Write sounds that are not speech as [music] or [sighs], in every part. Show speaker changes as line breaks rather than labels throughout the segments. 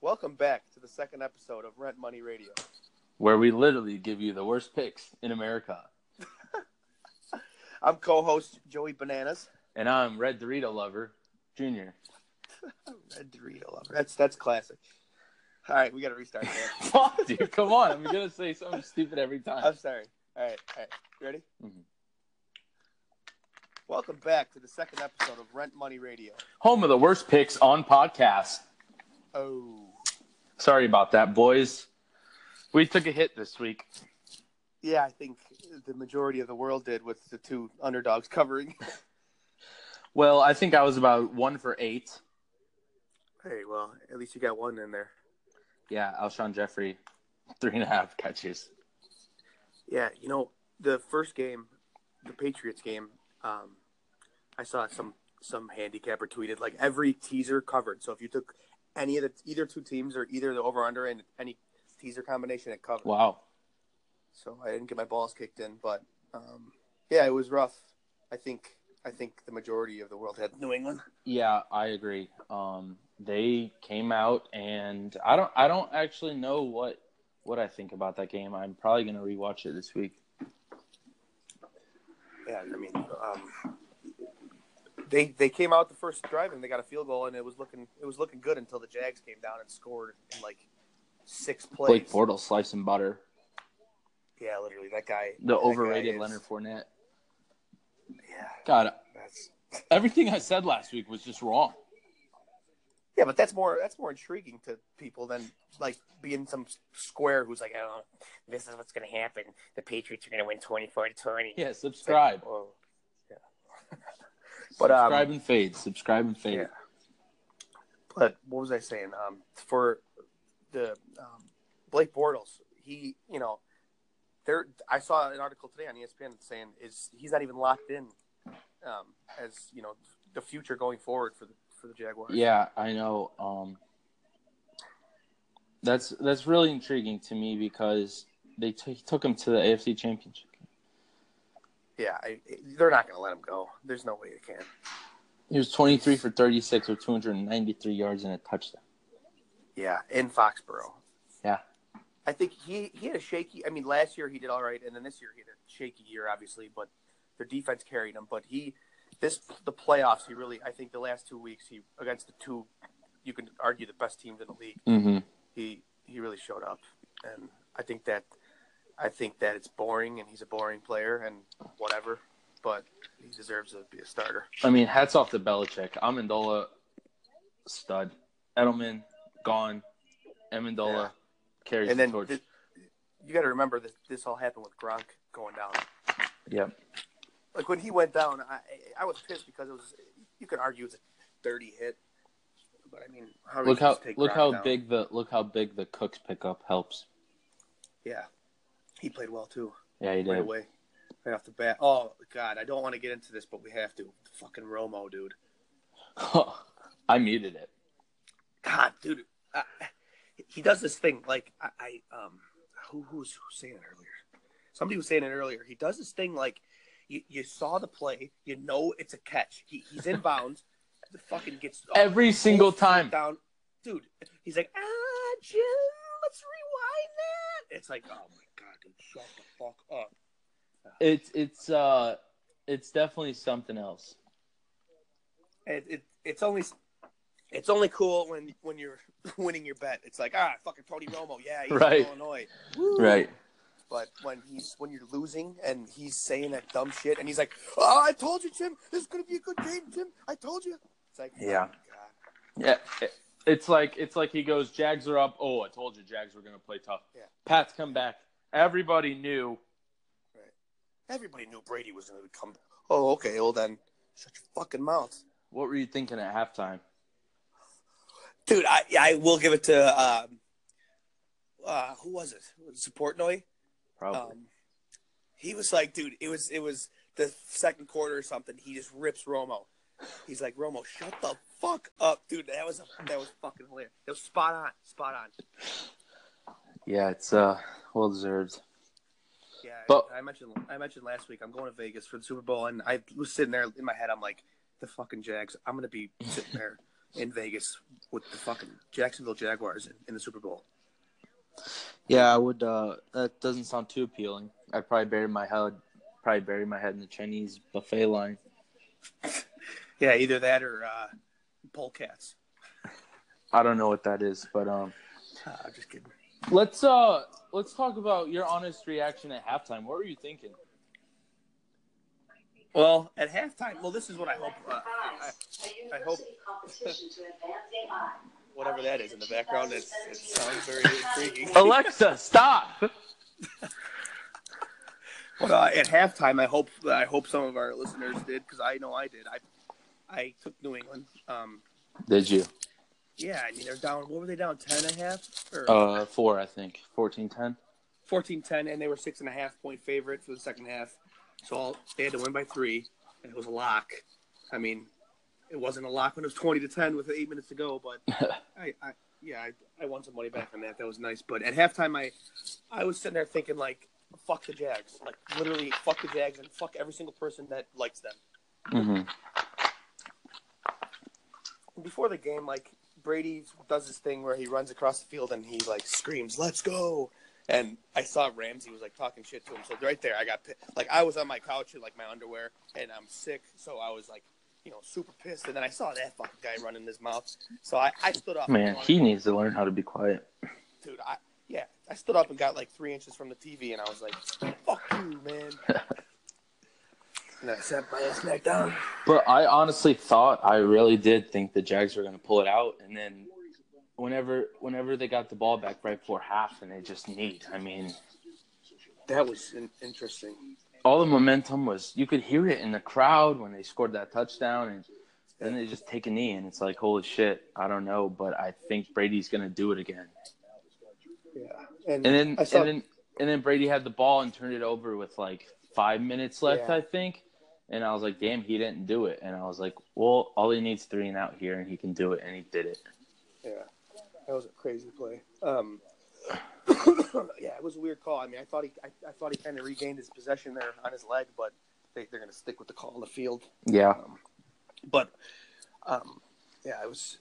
Welcome back to the second episode of Rent Money Radio.
where we literally give you the worst picks in America.
I'm co-host Joey Bananas.
And I'm Red Dorito Lover Jr.
Red Dorito lover. That's that's classic. All right, we got to restart. That.
Fuck, [laughs] dude, come on. I'm going to say something stupid every time.
I'm sorry. All right, all right. You ready?
Mhm.
Welcome back to the second episode of Rent Money Radio.
Home of the worst picks on podcast.
Oh,
Sorry about that, boys. We took a hit this week.
yeah. I think the majority of the world did with the two underdogs covering.
Well, I think I was about one for eight.
Hey, well, at least you got one in there.
Yeah, Alshon Jeffrey, three and a half catches.
Yeah, you know, the first game, the Patriots game, um, I saw some some handicapper tweeted like every teaser covered. So if you took any of the either two teams or either the over under and any teaser combination, it covered.
Wow.
So I didn't get my balls kicked in, but um, yeah, it was rough. I think I think the majority of the world had New England.
Yeah, I agree. Um, they came out, and I don't, I don't actually know what what I think about that game. I'm probably gonna rewatch it this week.
Yeah, I mean, um, they they came out the first drive and they got a field goal and it was looking it was looking good until the Jags came down and scored in like six plays.
Blake Bortles, slice and butter,
Yeah, literally that guy.
the
that guy
overrated
is-
Leonard Fournette.
Yeah,
God,
that's
everything I said last week was just wrong. [laughs]
yeah, but that's more that's more intriguing to people than like being some square who's like, oh,
this is what's going to happen. The Patriots are going to win 24 to 20.
Yeah, subscribe,
oh. But,
but,
um,
subscribe and fade, subscribe and fade.
yeah. But what was I saying? Um, for the um, Blake Bortles, he, you know, there. I saw an article today on E ESPN saying is he's not even locked in, um, as you know, the future going forward for the for the Jaguars.
Yeah, I know. Um, that's that's really intriguing to me because they t- took him to the AFC Championship.
yeah, I, they're not going to let him go. There's no way they can.
He was 23 for 36 with 293 yards and a touchdown.
Yeah, in Foxborough.
Yeah.
I think he, he had a shaky. I mean, last year he did all right, and then this year he had a shaky year, obviously. But their defense carried him. But he, this the playoffs, he really. I think the last two weeks he against the two, you can argue the best teams in the league.
Mm-hmm.
He he really showed up, and I think that, I think that it's boring, and he's a boring player, and whatever. But he deserves to be a starter.
I mean, hats off to Belichick. Amendola, stud. Edelman, gone. Amendola
Yeah.
carries
And
the
then
torch.
th- you got to remember that this all happened with Gronk going down.
yep.
like when he went down, I I was pissed because it was you could argue it was a dirty hit, but I mean, how
Look
did you
how
just take
look
Gronk
how
down?
big the look how big the Cooks pickup helps.
Yeah, he played well too
Yeah, he
right
did.
away, right off the bat. Oh God, I don't want to get into this, but we have to. Fucking Romo, dude.
[laughs] I muted it.
God, dude, I, he does this thing like I, I um who who was, who was saying it earlier? Somebody was saying it earlier. He does this thing like you, you saw the play, you know it's a catch. He, he's in bounds. The fucking gets oh,
Every single
full foot
time.
down, dude. He's like, ah, Jim, let's rewind that. It's like, oh my god, dude, shut the fuck up.
It's it's uh it's definitely something else.
It, it, it's only, it's only cool when when you're [laughs] winning your bet. It's like, ah, fucking Tony Romo, yeah, he's
Right.
from Illinois.
Right.
But when he's when you're losing and he's saying that dumb shit and he's like, oh, I told you, Jim, this is gonna be a good game, Jim. I told you. It's like,
Yeah.
oh, God.
Yeah, it- it's like it's like he goes, Jags are up. Oh, I told you, Jags were gonna play tough.
Yeah.
Pats come back. Everybody knew.
Everybody knew Brady was gonna come. Oh, okay. Well then, shut your fucking mouth.
What were you thinking at halftime?
dude. I I will give it to um, uh, who was it? Support Noy.
Probably.
Um, he was like, dude, it was it was the second quarter or something. He just rips Romo. He's like, Romo, shut the fuck up, dude. That was that was fucking hilarious. That was spot on, spot on.
yeah, it's uh well deserved.
Yeah,
But-
I, I mentioned I mentioned last week I'm going to Vegas for the Super Bowl, and I was sitting there in my head, I'm like, the fucking Jags. I'm gonna be sitting there in Vegas with the fucking Jacksonville Jaguars in the Super Bowl.
Yeah, I would. Uh, that doesn't sound too appealing. I'd probably bury my head, probably bury my head in the Chinese buffet line.
Yeah, either that or uh, polecats.
I don't know what that is, but um,
Uh, [laughs] I'm just kidding.
let's uh, let's talk about your honest reaction at halftime. What were you thinking?
Well, at halftime, well, this is what I hope. Uh,
I,
I hope- whatever that is in the background, it's, it sounds very intriguing.
Alexa, stop.
But uh, at halftime, I hope I hope some of our listeners did because I know I did. I I took New England. Um,
Did you?
yeah, I mean they're down. What were they down? Ten and a half or
Uh, four, I think. Fourteen ten.
14-10, and they were six and a half point favorite for the second half. So all, they had to win by three, and it was a lock. I mean, it wasn't a lock when it was twenty to ten with eight minutes to go, but I, I yeah, I, I won some money back on that. That was nice. But at halftime, I I was sitting there thinking like, fuck the Jags, like literally fuck the Jags and fuck every single person that likes them.
Mm-hmm.
before the game, like Brady does this thing where he runs across the field and he like screams, "Let's go!" And I saw Ramsey was like talking shit to him. So right there, I got pi- like I was on my couch in like my underwear and I'm sick, so I was like, you know, super pissed. And then I saw that fucking guy running his mouth, so I, I stood up.
Man, he needs to learn how to be quiet.
dude, I yeah, I stood up and got like three inches from the TV, and I was like, "Fuck you,
[laughs]
man." and I sat my ass back down.
But I honestly thought I really did think the Jags were going to pull it out, and then whenever whenever they got the ball back right before half, and they just need. I mean,
That was in- interesting.
all the momentum was you could hear it in the crowd when they scored that touchdown, and then they just take a knee, and it's like holy shit. I don't know, but I think Brady's going to do it again.
Yeah,
And then
I saw-
and then and then Brady had the ball and turned it over with like five minutes left,
Yeah.
I think. And I was like, damn, he didn't do it. And I was like, well, all he needs three and out here, and he can do it, and he did it.
Yeah, that was a crazy play. Um, [coughs] yeah, it was a weird call. I mean, I thought he, I, I thought he kind of regained his possession there on his leg, but they, they're going to stick with the call on the field.
Yeah.
But um, yeah, it was,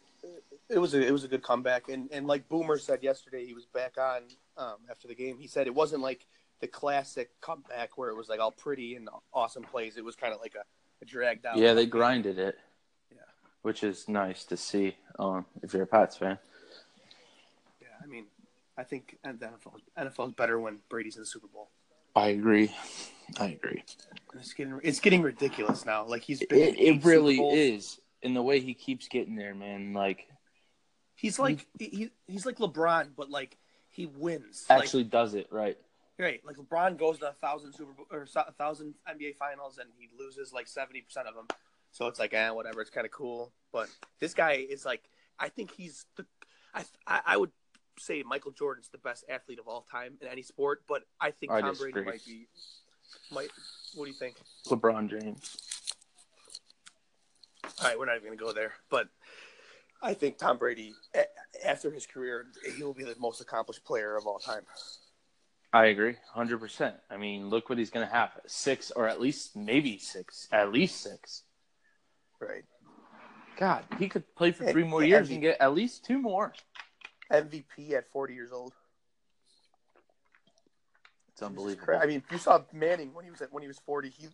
it was a, it was a good comeback. And and like Boomer said yesterday, he was back on um, after the game. He said it wasn't like the classic comeback where it was like all pretty and awesome plays. It was kind of like a, a dragged out.
Yeah, they grinded it.
Yeah.
Which is nice to see um, if you're a Pats fan.
Yeah, I mean, I think NFL NFL's better when Brady's in the Super Bowl.
I agree. I agree.
It's getting it's getting ridiculous now. Like he's
It,
been in eight
it really
Super Bowls.
is. And the way he keeps getting there, man, like,
He's like he he's like LeBron, but like he wins.
actually does it right.
like, right? Like LeBron goes to a thousand Super Bowl or so- a thousand NBA Finals and he loses like seventy percent of them. So it's like, eh, whatever. It's kind of cool, but this guy is like, I think he's the, I I, I would say Michael Jordan's the best athlete of all time in any sport, but I think
I
Tom
disagree.
Brady might be. Might what do you think?
LeBron James.
All right, we're not even going to go there. But I think Tom Brady, a- after his career, he will be the most accomplished player of all time.
I agree, hundred percent. I mean, look what he's going to have: six, or at least maybe six, at least six.
Right.
God, he could play for
Yeah,
three more
yeah,
years
I mean-
and get at least two more.
MVP at 40 years old.
It's unbelievable.
Cra- I mean, you saw Manning when he was at when he [coughs] was 40. He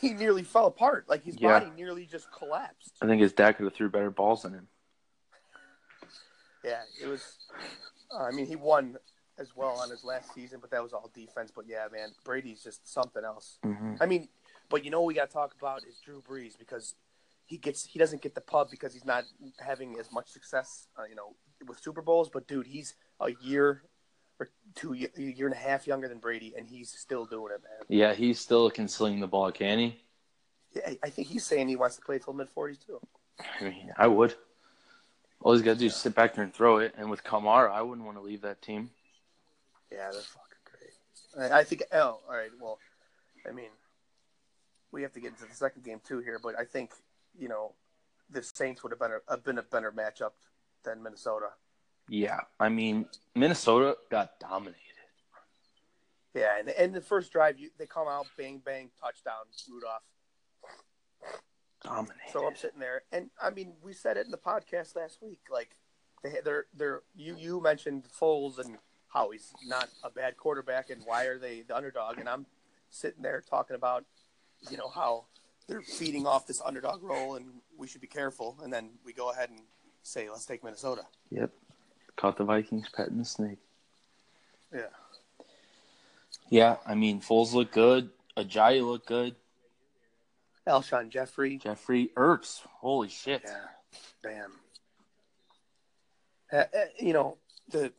he nearly fell apart. Like his
Yeah.
body nearly just collapsed.
I think his dad could have threw better balls than him.
Yeah, it was. uh, I mean, he won as well on his last season, but that was all defense. But yeah, man, Brady's just something else.
Mm-hmm.
I mean, but you know what we got to talk about is Drew Brees because he gets he doesn't get the pub because he's not having as much success, uh, you know, with Super Bowls. But dude, he's a year or two ye- a year and a half younger than Brady, and he's still doing it, man.
Yeah, he still can sling the ball, can he?
Yeah, I I think he's saying he wants to play till mid forties too.
I mean, I would. All he's got to do is sit back there and throw it. And with Kamara, I wouldn't want to leave that team.
Yeah, they're fucking great. I, I think. Oh, all right. Well, I mean, we have to get into the second game too here, but I think you know the Saints would have been a, been a better matchup than Minnesota.
Yeah, I mean, Minnesota got dominated.
Yeah, and and the first drive, you, they come out bang bang touchdown Rudolph.
Dominated.
So I'm sitting there, and I mean, we said it in the podcast last week. Like, they, they're they're you you mentioned Foles and how he's not a bad quarterback, and why are they the underdog? And I'm sitting there talking about, you know, how they're feeding off this underdog role, and we should be careful. And then we go ahead and say, let's take Minnesota.
Yep. Caught the Vikings petting the snake.
Yeah.
Yeah, I mean, Foles look good. Ajayi look good.
Alshon Jeffrey.
Jeffrey Ertz. Holy shit.
Yeah, damn. Uh, uh, you know the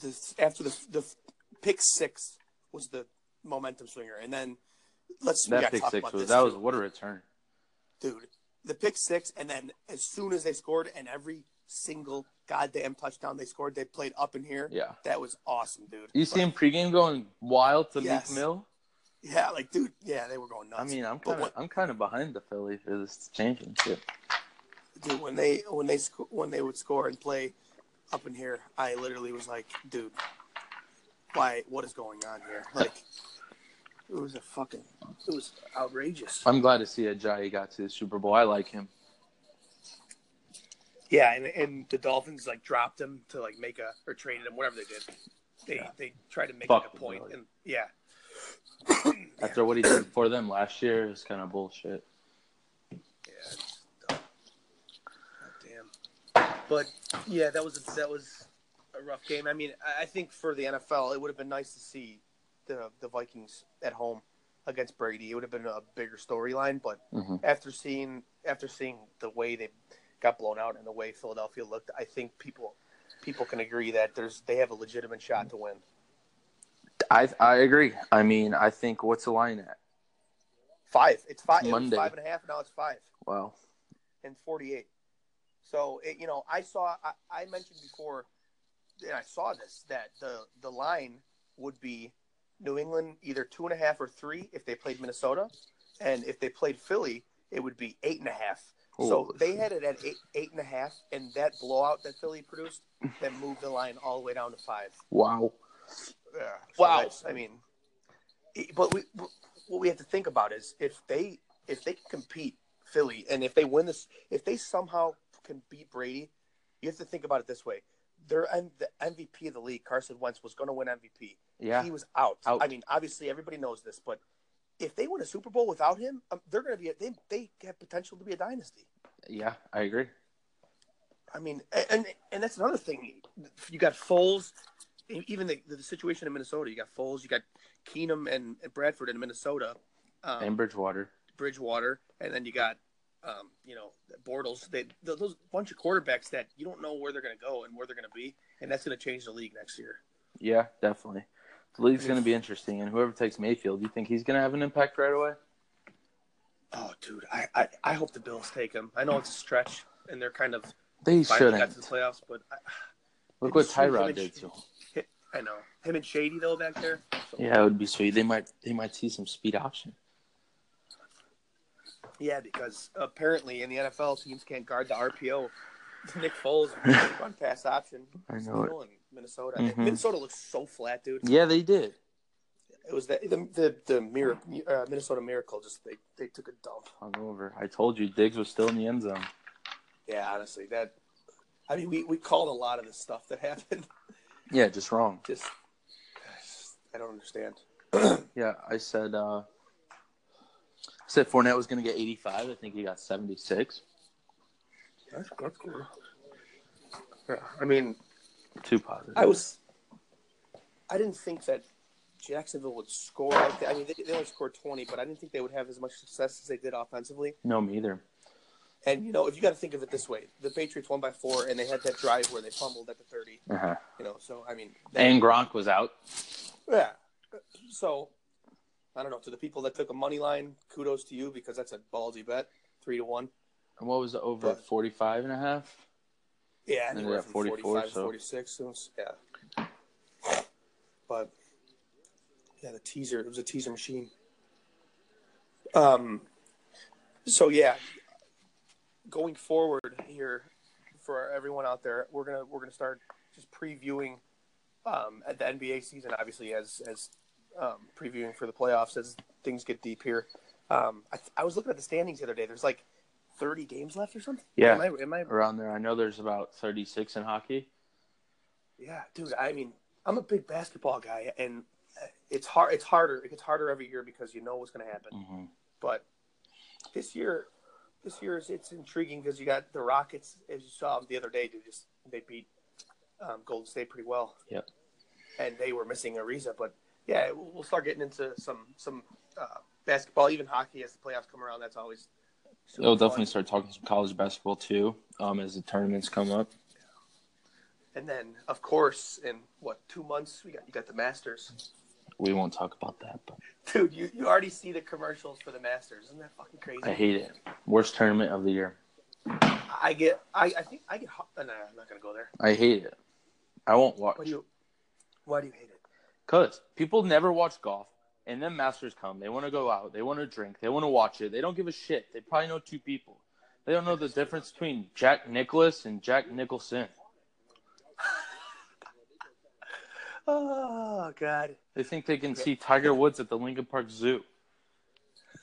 the after the the pick six was the momentum swinger, and then let's we
That
gotta
pick
talk
six
about
was
this,
that was
too.
what a return.
dude. The pick six, and then as soon as they scored, and every single goddamn touchdown they scored, they played up in here.
Yeah.
That was awesome, dude.
You see him pregame going wild to
Yes.
Meek Mill?
Yeah, like dude, yeah, they were going nuts.
I mean, I'm
But
kind of
what-
I'm kind of behind the Philly for this championship.
dude, when they when they sc- when they would score and play up in here, I literally was like, dude, why? What is going on here? Like, it was a fucking, it was outrageous.
I'm glad to see Ajayi got to the Super Bowl. I like him.
Yeah, and and the Dolphins like dropped him to like make a or traded him, whatever they did. They
Yeah.
they tried to make
Fuck
it a
the
point,
Bills.
and yeah,
After what he did for them last year, it's kind of bullshit.
yeah, it's dumb. God damn. But yeah, that was that was a rough game. I mean, I- I think for the NFL, it would have been nice to see the the Vikings at home against Brady. It would have been a bigger storyline, but
Mhm.
after seeing after seeing the way they got blown out and the way Philadelphia looked, I think people people can agree that there's they have a legitimate shot to win.
I I agree. I mean, I think what's the line at?
Five. It's five. It was
Monday.
five and a half. Now it's five
Wow.
and forty-eight. So it, you know, I saw. I, I mentioned before, and I saw this that the the line would be New England either two and a half or three if they played Minnesota, and if they played Philly, it would be eight and a half. So
Holy
they
shit.
had it at eight, eight and a half, and that blowout that Philly produced that moved the line all the way down to five.
Wow.
Yeah.
Wow.
Wow. I mean, it- but we what we have to think about is if they if they can compete Philly and if they win this if they somehow can beat Brady, you have to think about it this way: their M- the MVP of the league, Carson Wentz, was going to win MVP.
Yeah.
He was out.
Out.
I mean, obviously everybody knows this, but if they win a Super Bowl without him, um, they're going to be a, they they have potential to be a dynasty.
Yeah, I agree.
I mean, a- and and that's another thing. You got Foles, e, even the, the situation in Minnesota. You got Foles, you got Keenum and, and Bradford in Minnesota, um,
And Bridgewater.
Bridgewater, and then you got um, you know Bortles. They, th- those bunch of quarterbacks that you don't know where they're going to go and where they're going to be, and that's going to change the league next year.
Yeah, definitely. The league's going to be interesting, and whoever takes Mayfield, you think he's going to have an impact right away?
Oh, dude, I, I I hope the Bills take him. I know it's a stretch, and they're kind of
They
finally got
shouldn't.
to the playoffs, but I,
Look what
It's huge
Tyrod
image.
did to him.
I know him and Shady though back there.
Yeah, it would be sweet. They might they might see some speed option.
Yeah, because apparently in the NFL, teams can't guard the RPO. [laughs] Nick
[laughs]
Foles run pass option.
I know it.
Still in Minnesota.
Mhm.
Minnesota looks so flat, dude.
Yeah, they did.
It was the the the, the mir- uh, Minnesota miracle. Just they they took a dump.
Hungover. I told you Diggs was still in the end zone.
Yeah, honestly, that. I mean, we, we called a lot of this stuff that [laughs] happened.
Yeah, just wrong.
Just, I don't understand.
Yeah, I said uh I said Fournette was gonna get eighty five. I think he got seventy six.
That's good. Yeah, I mean,
Two positive.
I was. I didn't think that Jacksonville would score like that. I mean, they, they only scored twenty, but I didn't think they would have as much success as they did offensively.
no me either.
And you know, if you got to think of it this way, the Patriots won by four, and they had that drive where they fumbled at the thirty.
Uh-huh.
You know, so I mean, they-
And Gronk was out.
yeah. So I don't know. To the people that took a money line, kudos to you because that's a ballsy bet, three to one.
And what was the over
But-
45 and a half?
Yeah,
And they
anywhere
got
from
44,
45 to
so-
46. So it's- yeah. But yeah, the teaser, it was a teaser machine. Um, so yeah, going forward here for everyone out there, we're going to, we're going to start just previewing, um, at the NBA season, obviously as, as, um, previewing for the playoffs as things get deep here. Um, I, I was looking at the standings the other day. There's like thirty games left or something.
Yeah.
Am I? Am I
around there. I know there's about 36 in hockey.
yeah, dude. I mean, I'm a big basketball guy, and it's hard. It's harder. It gets harder every year because you know what's going to happen.
Mm-hmm.
But this year, this year is it's intriguing because you got the Rockets, as you saw the other day, they just they beat um, Golden State pretty well.
Yep.
And they were missing Ariza, but yeah, we'll we'll start getting into some some uh, basketball, even hockey as the playoffs come around. That's always. super fun.
They'll Oh, definitely start talking some college basketball too um, as the tournaments come up.
And then, of course, in what two months we got you got the Masters.
We won't talk about that, but
Dude, you, you already see the commercials for the Masters. Isn't that fucking crazy?
I hate it. Worst tournament of the year.
I get, I, I think I get, hot. Nah, I'm not going to go there.
I hate it. I won't watch
Why do you, why do you hate it?
because people never watch golf, and then Masters come. They want to go out. They want to drink. They want to watch it. They don't give a shit. They probably know two people. They don't know the difference between Jack Nicholas and Jack Nicholson.
Oh, God.
They think they can see Tiger Woods at the Lincoln Park Zoo.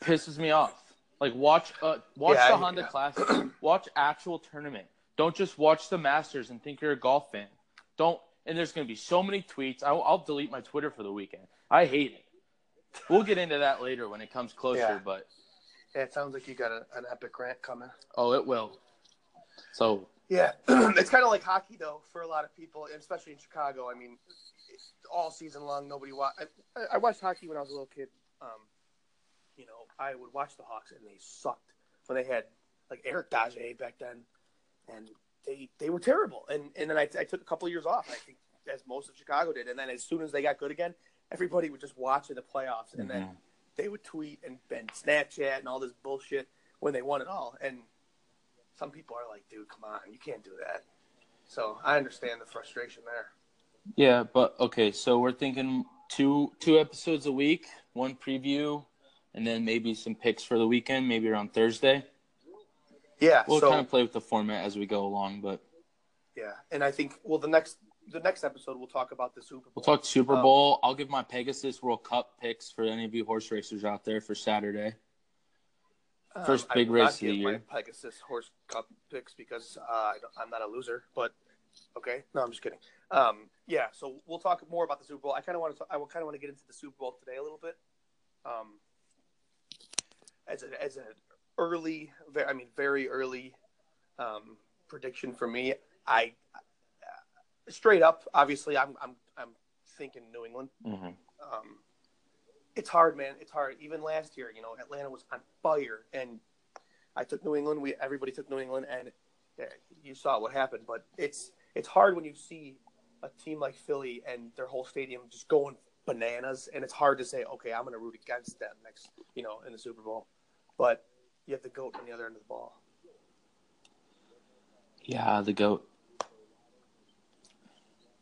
pisses me off. Like watch uh, watch
Yeah,
the
I-
Honda
yeah.
Classic.
[clears throat]
Watch actual tournament. Don't just watch the Masters and think you're a golf fan. Don't. And there's going to be so many tweets. I, I'll delete my Twitter for the weekend. I hate it. We'll get into that later when it comes closer.
Yeah.
But
Yeah, it sounds like you got a, an epic rant coming.
oh, it will. So
Yeah, [clears throat] it's kind of like hockey, though, for a lot of people, and especially in Chicago. I mean, it's all season long, nobody watched. I, I watched hockey when I was a little kid. Um, you know, I would watch the Hawks, and they sucked when they had like Eric Daje back then, and they they were terrible. And and then I, I took a couple years off. I think as most of Chicago did. And then as soon as they got good again, everybody would just watch in the playoffs, and
Mm-hmm.
then they would tweet and, and Snapchat and all this bullshit when they won it all. And some people are like, dude, come on, you can't do that. So I understand the frustration there.
yeah, but okay. So we're thinking two two episodes a week, one preview, and then maybe some picks for the weekend. Maybe around Thursday.
Yeah.
We'll
so
kind of play with the format as we go along, but
yeah, and I think well the next the next episode we'll talk about the Super Bowl.
we'll talk Super
Um,
Bowl. I'll give my Pegasus World Cup picks for any of you horse racers out there for Saturday.
Um,
first
I
big
will not
race of the
give my
year.
Pegasus Horse Cup picks because uh, I don't- I'm not a loser. But okay, no, I'm just kidding. Um, yeah, so we'll talk more about the Super Bowl. I kind of want to. I kind of want to get into the Super Bowl today a little bit. Um, as a, as an early, ve- I mean, very early um, prediction for me. I uh, straight up, obviously, I'm I'm I'm thinking New England
Mm-hmm.
um, it's hard, man. It's hard. Even last year, you know, Atlanta was on fire, and I took New England. We everybody took New England, and yeah, you saw what happened. But it's it's hard when you see a team like Philly and their whole stadium just going bananas, and it's hard to say, okay, I'm going to root against them next, you know, in the Super Bowl. But you have the goat on the other end of the ball.
Yeah, the goat.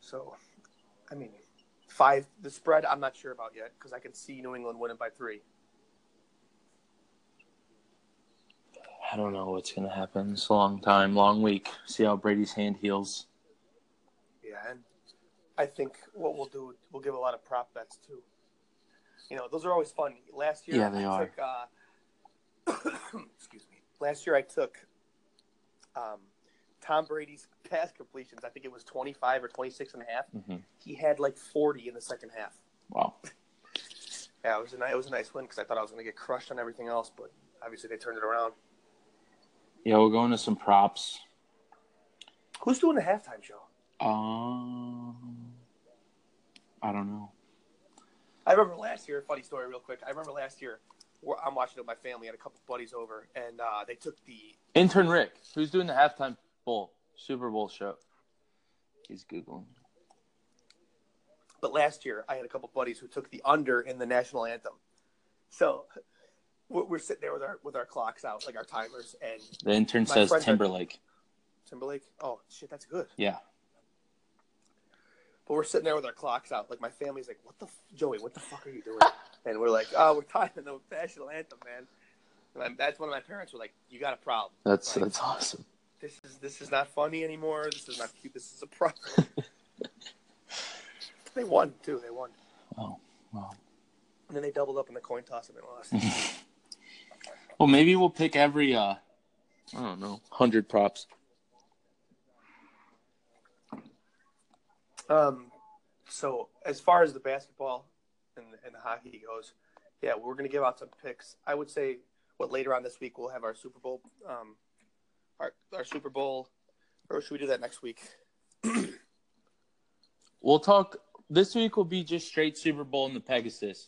So, I mean, five the spread. I'm not sure about yet because I can see New England winning by three.
I don't know what's gonna happen. It's a long time, long week. See how Brady's hand heals.
Yeah, and I think what we'll do, we'll give a lot of prop bets too. You know, those are always fun. Last year,
Yeah, they
I
are.
took, uh, [coughs] excuse me. Last year, I took um, Tom Brady's pass completions. I think it was 25 or 26 and a half.
Mhm.
He had like 40 in the second half.
Wow.
Yeah, it was a, ni- it was a nice win because I thought I was going to get crushed on everything else, but obviously they turned it around.
Yeah, we're going to some props.
Who's doing the halftime show?
Um, I don't know.
I remember last year, funny story, real quick. I remember last year, where I'm watching it with my family. I had a couple buddies over, and uh, they took the
Intern Rick, who's doing the halftime bowl Super Bowl show. He's googling.
But last year, I had a couple buddies who took the under in the national anthem. So we're, we're sitting there with our with our clocks out, like our timers, and
The intern
My
says
friends are-
Timberlake.
Timberlake. Oh shit, that's good.
Yeah.
But we're sitting there with our clocks out. Like my family's like, "What the f- Joey? What the fuck are you doing?" and we're like, "Oh, we're timing the national anthem, man." And I'm- that's when my parents were like, "You got a problem.
That's
Right.
that's awesome.
This is this is not funny anymore. This is not cute. This is a problem."
[laughs]
they won too. They won.
Oh, wow.
And then they
[laughs]
doubled up in the coin toss and they lost.
Well, maybe we'll pick every uh, I don't know. Hundred props.
Um, so as far as the basketball and, and the hockey goes, yeah, we're going to give out some picks. I would say what later on this week we'll have our Super Bowl, um, our our Super Bowl, or should we do that next week?
We'll talk. This week will be just straight Super Bowl and the Pegasus.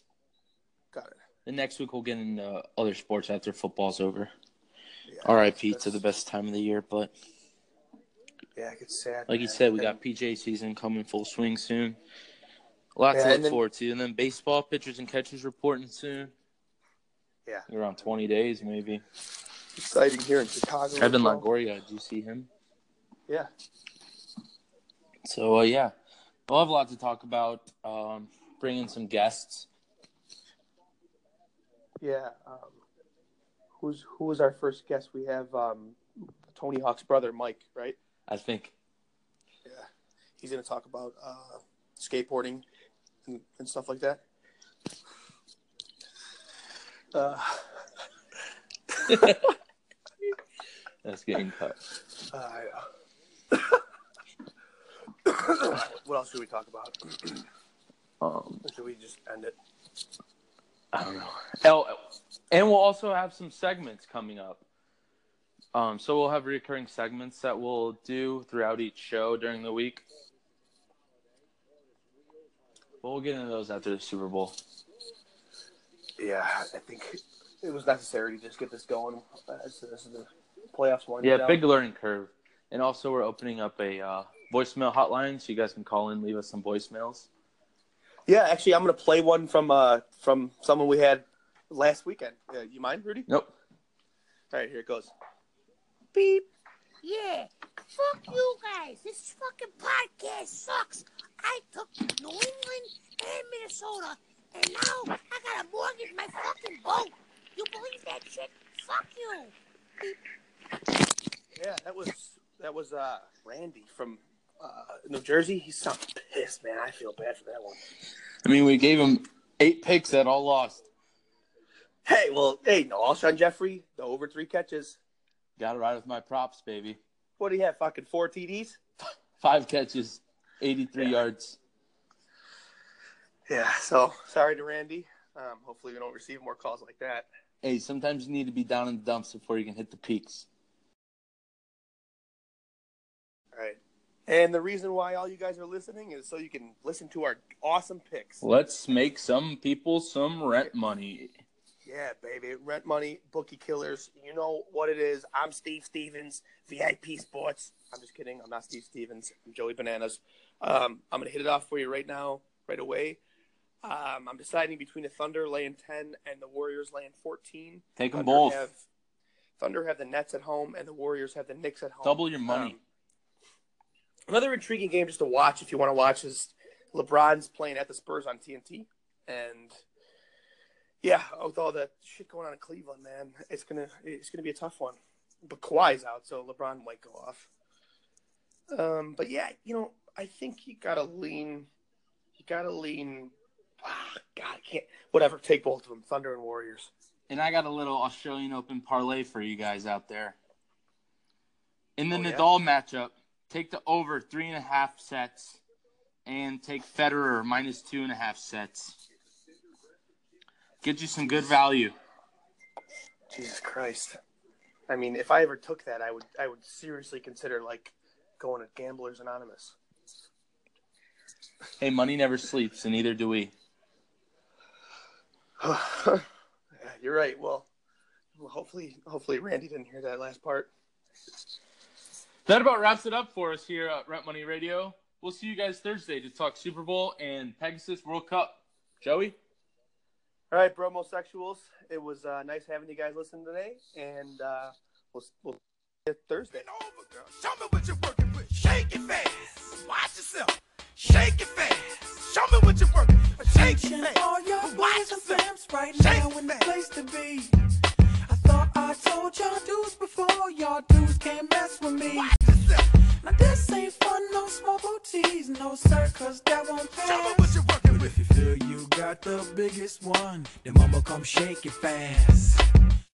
Got it.
The next week we'll get into other sports after football's over.
Yeah,
R.I.P.
that's-
to the best time of the year, but
Yeah, it's sad.
like you
man.
said, we
And-
got PJ season coming full swing soon. A lot
Yeah,
to look
and then-
forward to, and then baseball pitchers and catchers reporting soon.
Yeah.
around twenty days maybe.
exciting here in Chicago.
Evan
as well.
Longoria, did you see him?
Yeah.
So uh, yeah, we'll have a lot to talk about. Um, bring in some guests.
Yeah. Um, who's who was our first guest? We have um, Tony Hawk's brother, Mike. Right.
I think [laughs]
Yeah. He's going to talk about uh, skateboarding and, and stuff like that. Uh,
that's getting cut.
I uh, [coughs] what else should we talk about?
Um,
Or should we just end it?
I don't know. Oh, and we'll also have some segments coming up. Um, so we'll have recurring segments that we'll do throughout each show during the week. But we'll get into those after the Super Bowl.
Yeah, I think it was necessary to just get this going. Uh, This this is the playoffs one.
Yeah, big learning curve. And also, we're opening up a uh, voicemail hotline so you guys can call in, leave us some voicemails.
Yeah, actually, I'm gonna play one from uh from someone we had last weekend. Uh, you mind, Rudy?
Nope.
All right, here it goes.
Beep. Yeah. Fuck you guys. This fucking podcast sucks. I took New England and Minnesota, and now I gotta mortgage my fucking boat. You believe that shit? Fuck you.
Yeah, that was that was uh Randy from uh, New Jersey. He sounds pissed, man. I feel bad for that one.
I mean, we gave him eight picks that all lost.
Hey, well, hey, no, Alshon Jeffrey, the over three catches.
Got it right with my props, baby.
What do you have? Fucking four TDs.
Five catches, 83
Yeah.
yards.
Yeah. So sorry to Randy. Um, hopefully, we don't receive more calls like that.
Hey, sometimes you need to be down in the dumps before you can hit the peaks.
All right. And the reason why all you guys are listening is so you can listen to our awesome picks.
Let's make some people some rent money.
Yeah, baby. Rent money, bookie killers. You know what it is. I'm Steve Stevens, VIP Sports. I'm just kidding. I'm not Steve Stevens. I'm Joey Bananas. Um, I'm going to hit it off for you right now, right away. Um, I'm deciding between the Thunder laying 10 and the Warriors laying 14.
Take them
Thunder
both.
Have, Thunder have the Nets at home, and the Warriors have the Knicks at home.
Double your money.
Um, another intriguing game just to watch if you want to watch is LeBron's playing at the Spurs on TNT, and yeah, with all that shit going on in Cleveland, man, it's gonna it's gonna be a tough one. But Kawhi's out, so LeBron might go off. Um, but yeah, you know, I think you gotta lean, you gotta lean. Ah, God, I can't. Whatever, take both of them, Thunder and Warriors.
and I got a little Australian Open parlay for you guys out there. In the
Oh, yeah?
Nadal matchup, take the over three and a half sets, and take Federer minus two and a half sets. Get you some good value.
Jesus Christ. I mean, if I ever took that, I would I would seriously consider like going to Gamblers Anonymous. [sighs]
Hey, money never sleeps, and neither do we.
yeah, you're right. Well, well, hopefully hopefully Randy didn't hear that last part.
That about wraps it up for us here at Rent Money Radio. We'll see you guys Thursday to talk Super Bowl and Pegasus World Cup. Joey?
All right, bromosexuals. It was uh, nice having you guys listen today, and uh, we'll we'll see you Thursday.
bend over, girl. Show me what you're working with. Shake it fast. Watch yourself. Shake it fast. Show me what you're working with. Shake
Attention,
it
all
fast.
your boys
Watch
and
yourself.
fams right
Shake
now in the
that.
place to be. I thought I told y'all dudes before, y'all dudes can't mess with me.
Watch yourself.
Now this ain't fun, no small booties, no sir, 'cause that won't
Show me
pass.
what you're working with.
If you feel you got the biggest one, then mama come shake it fast.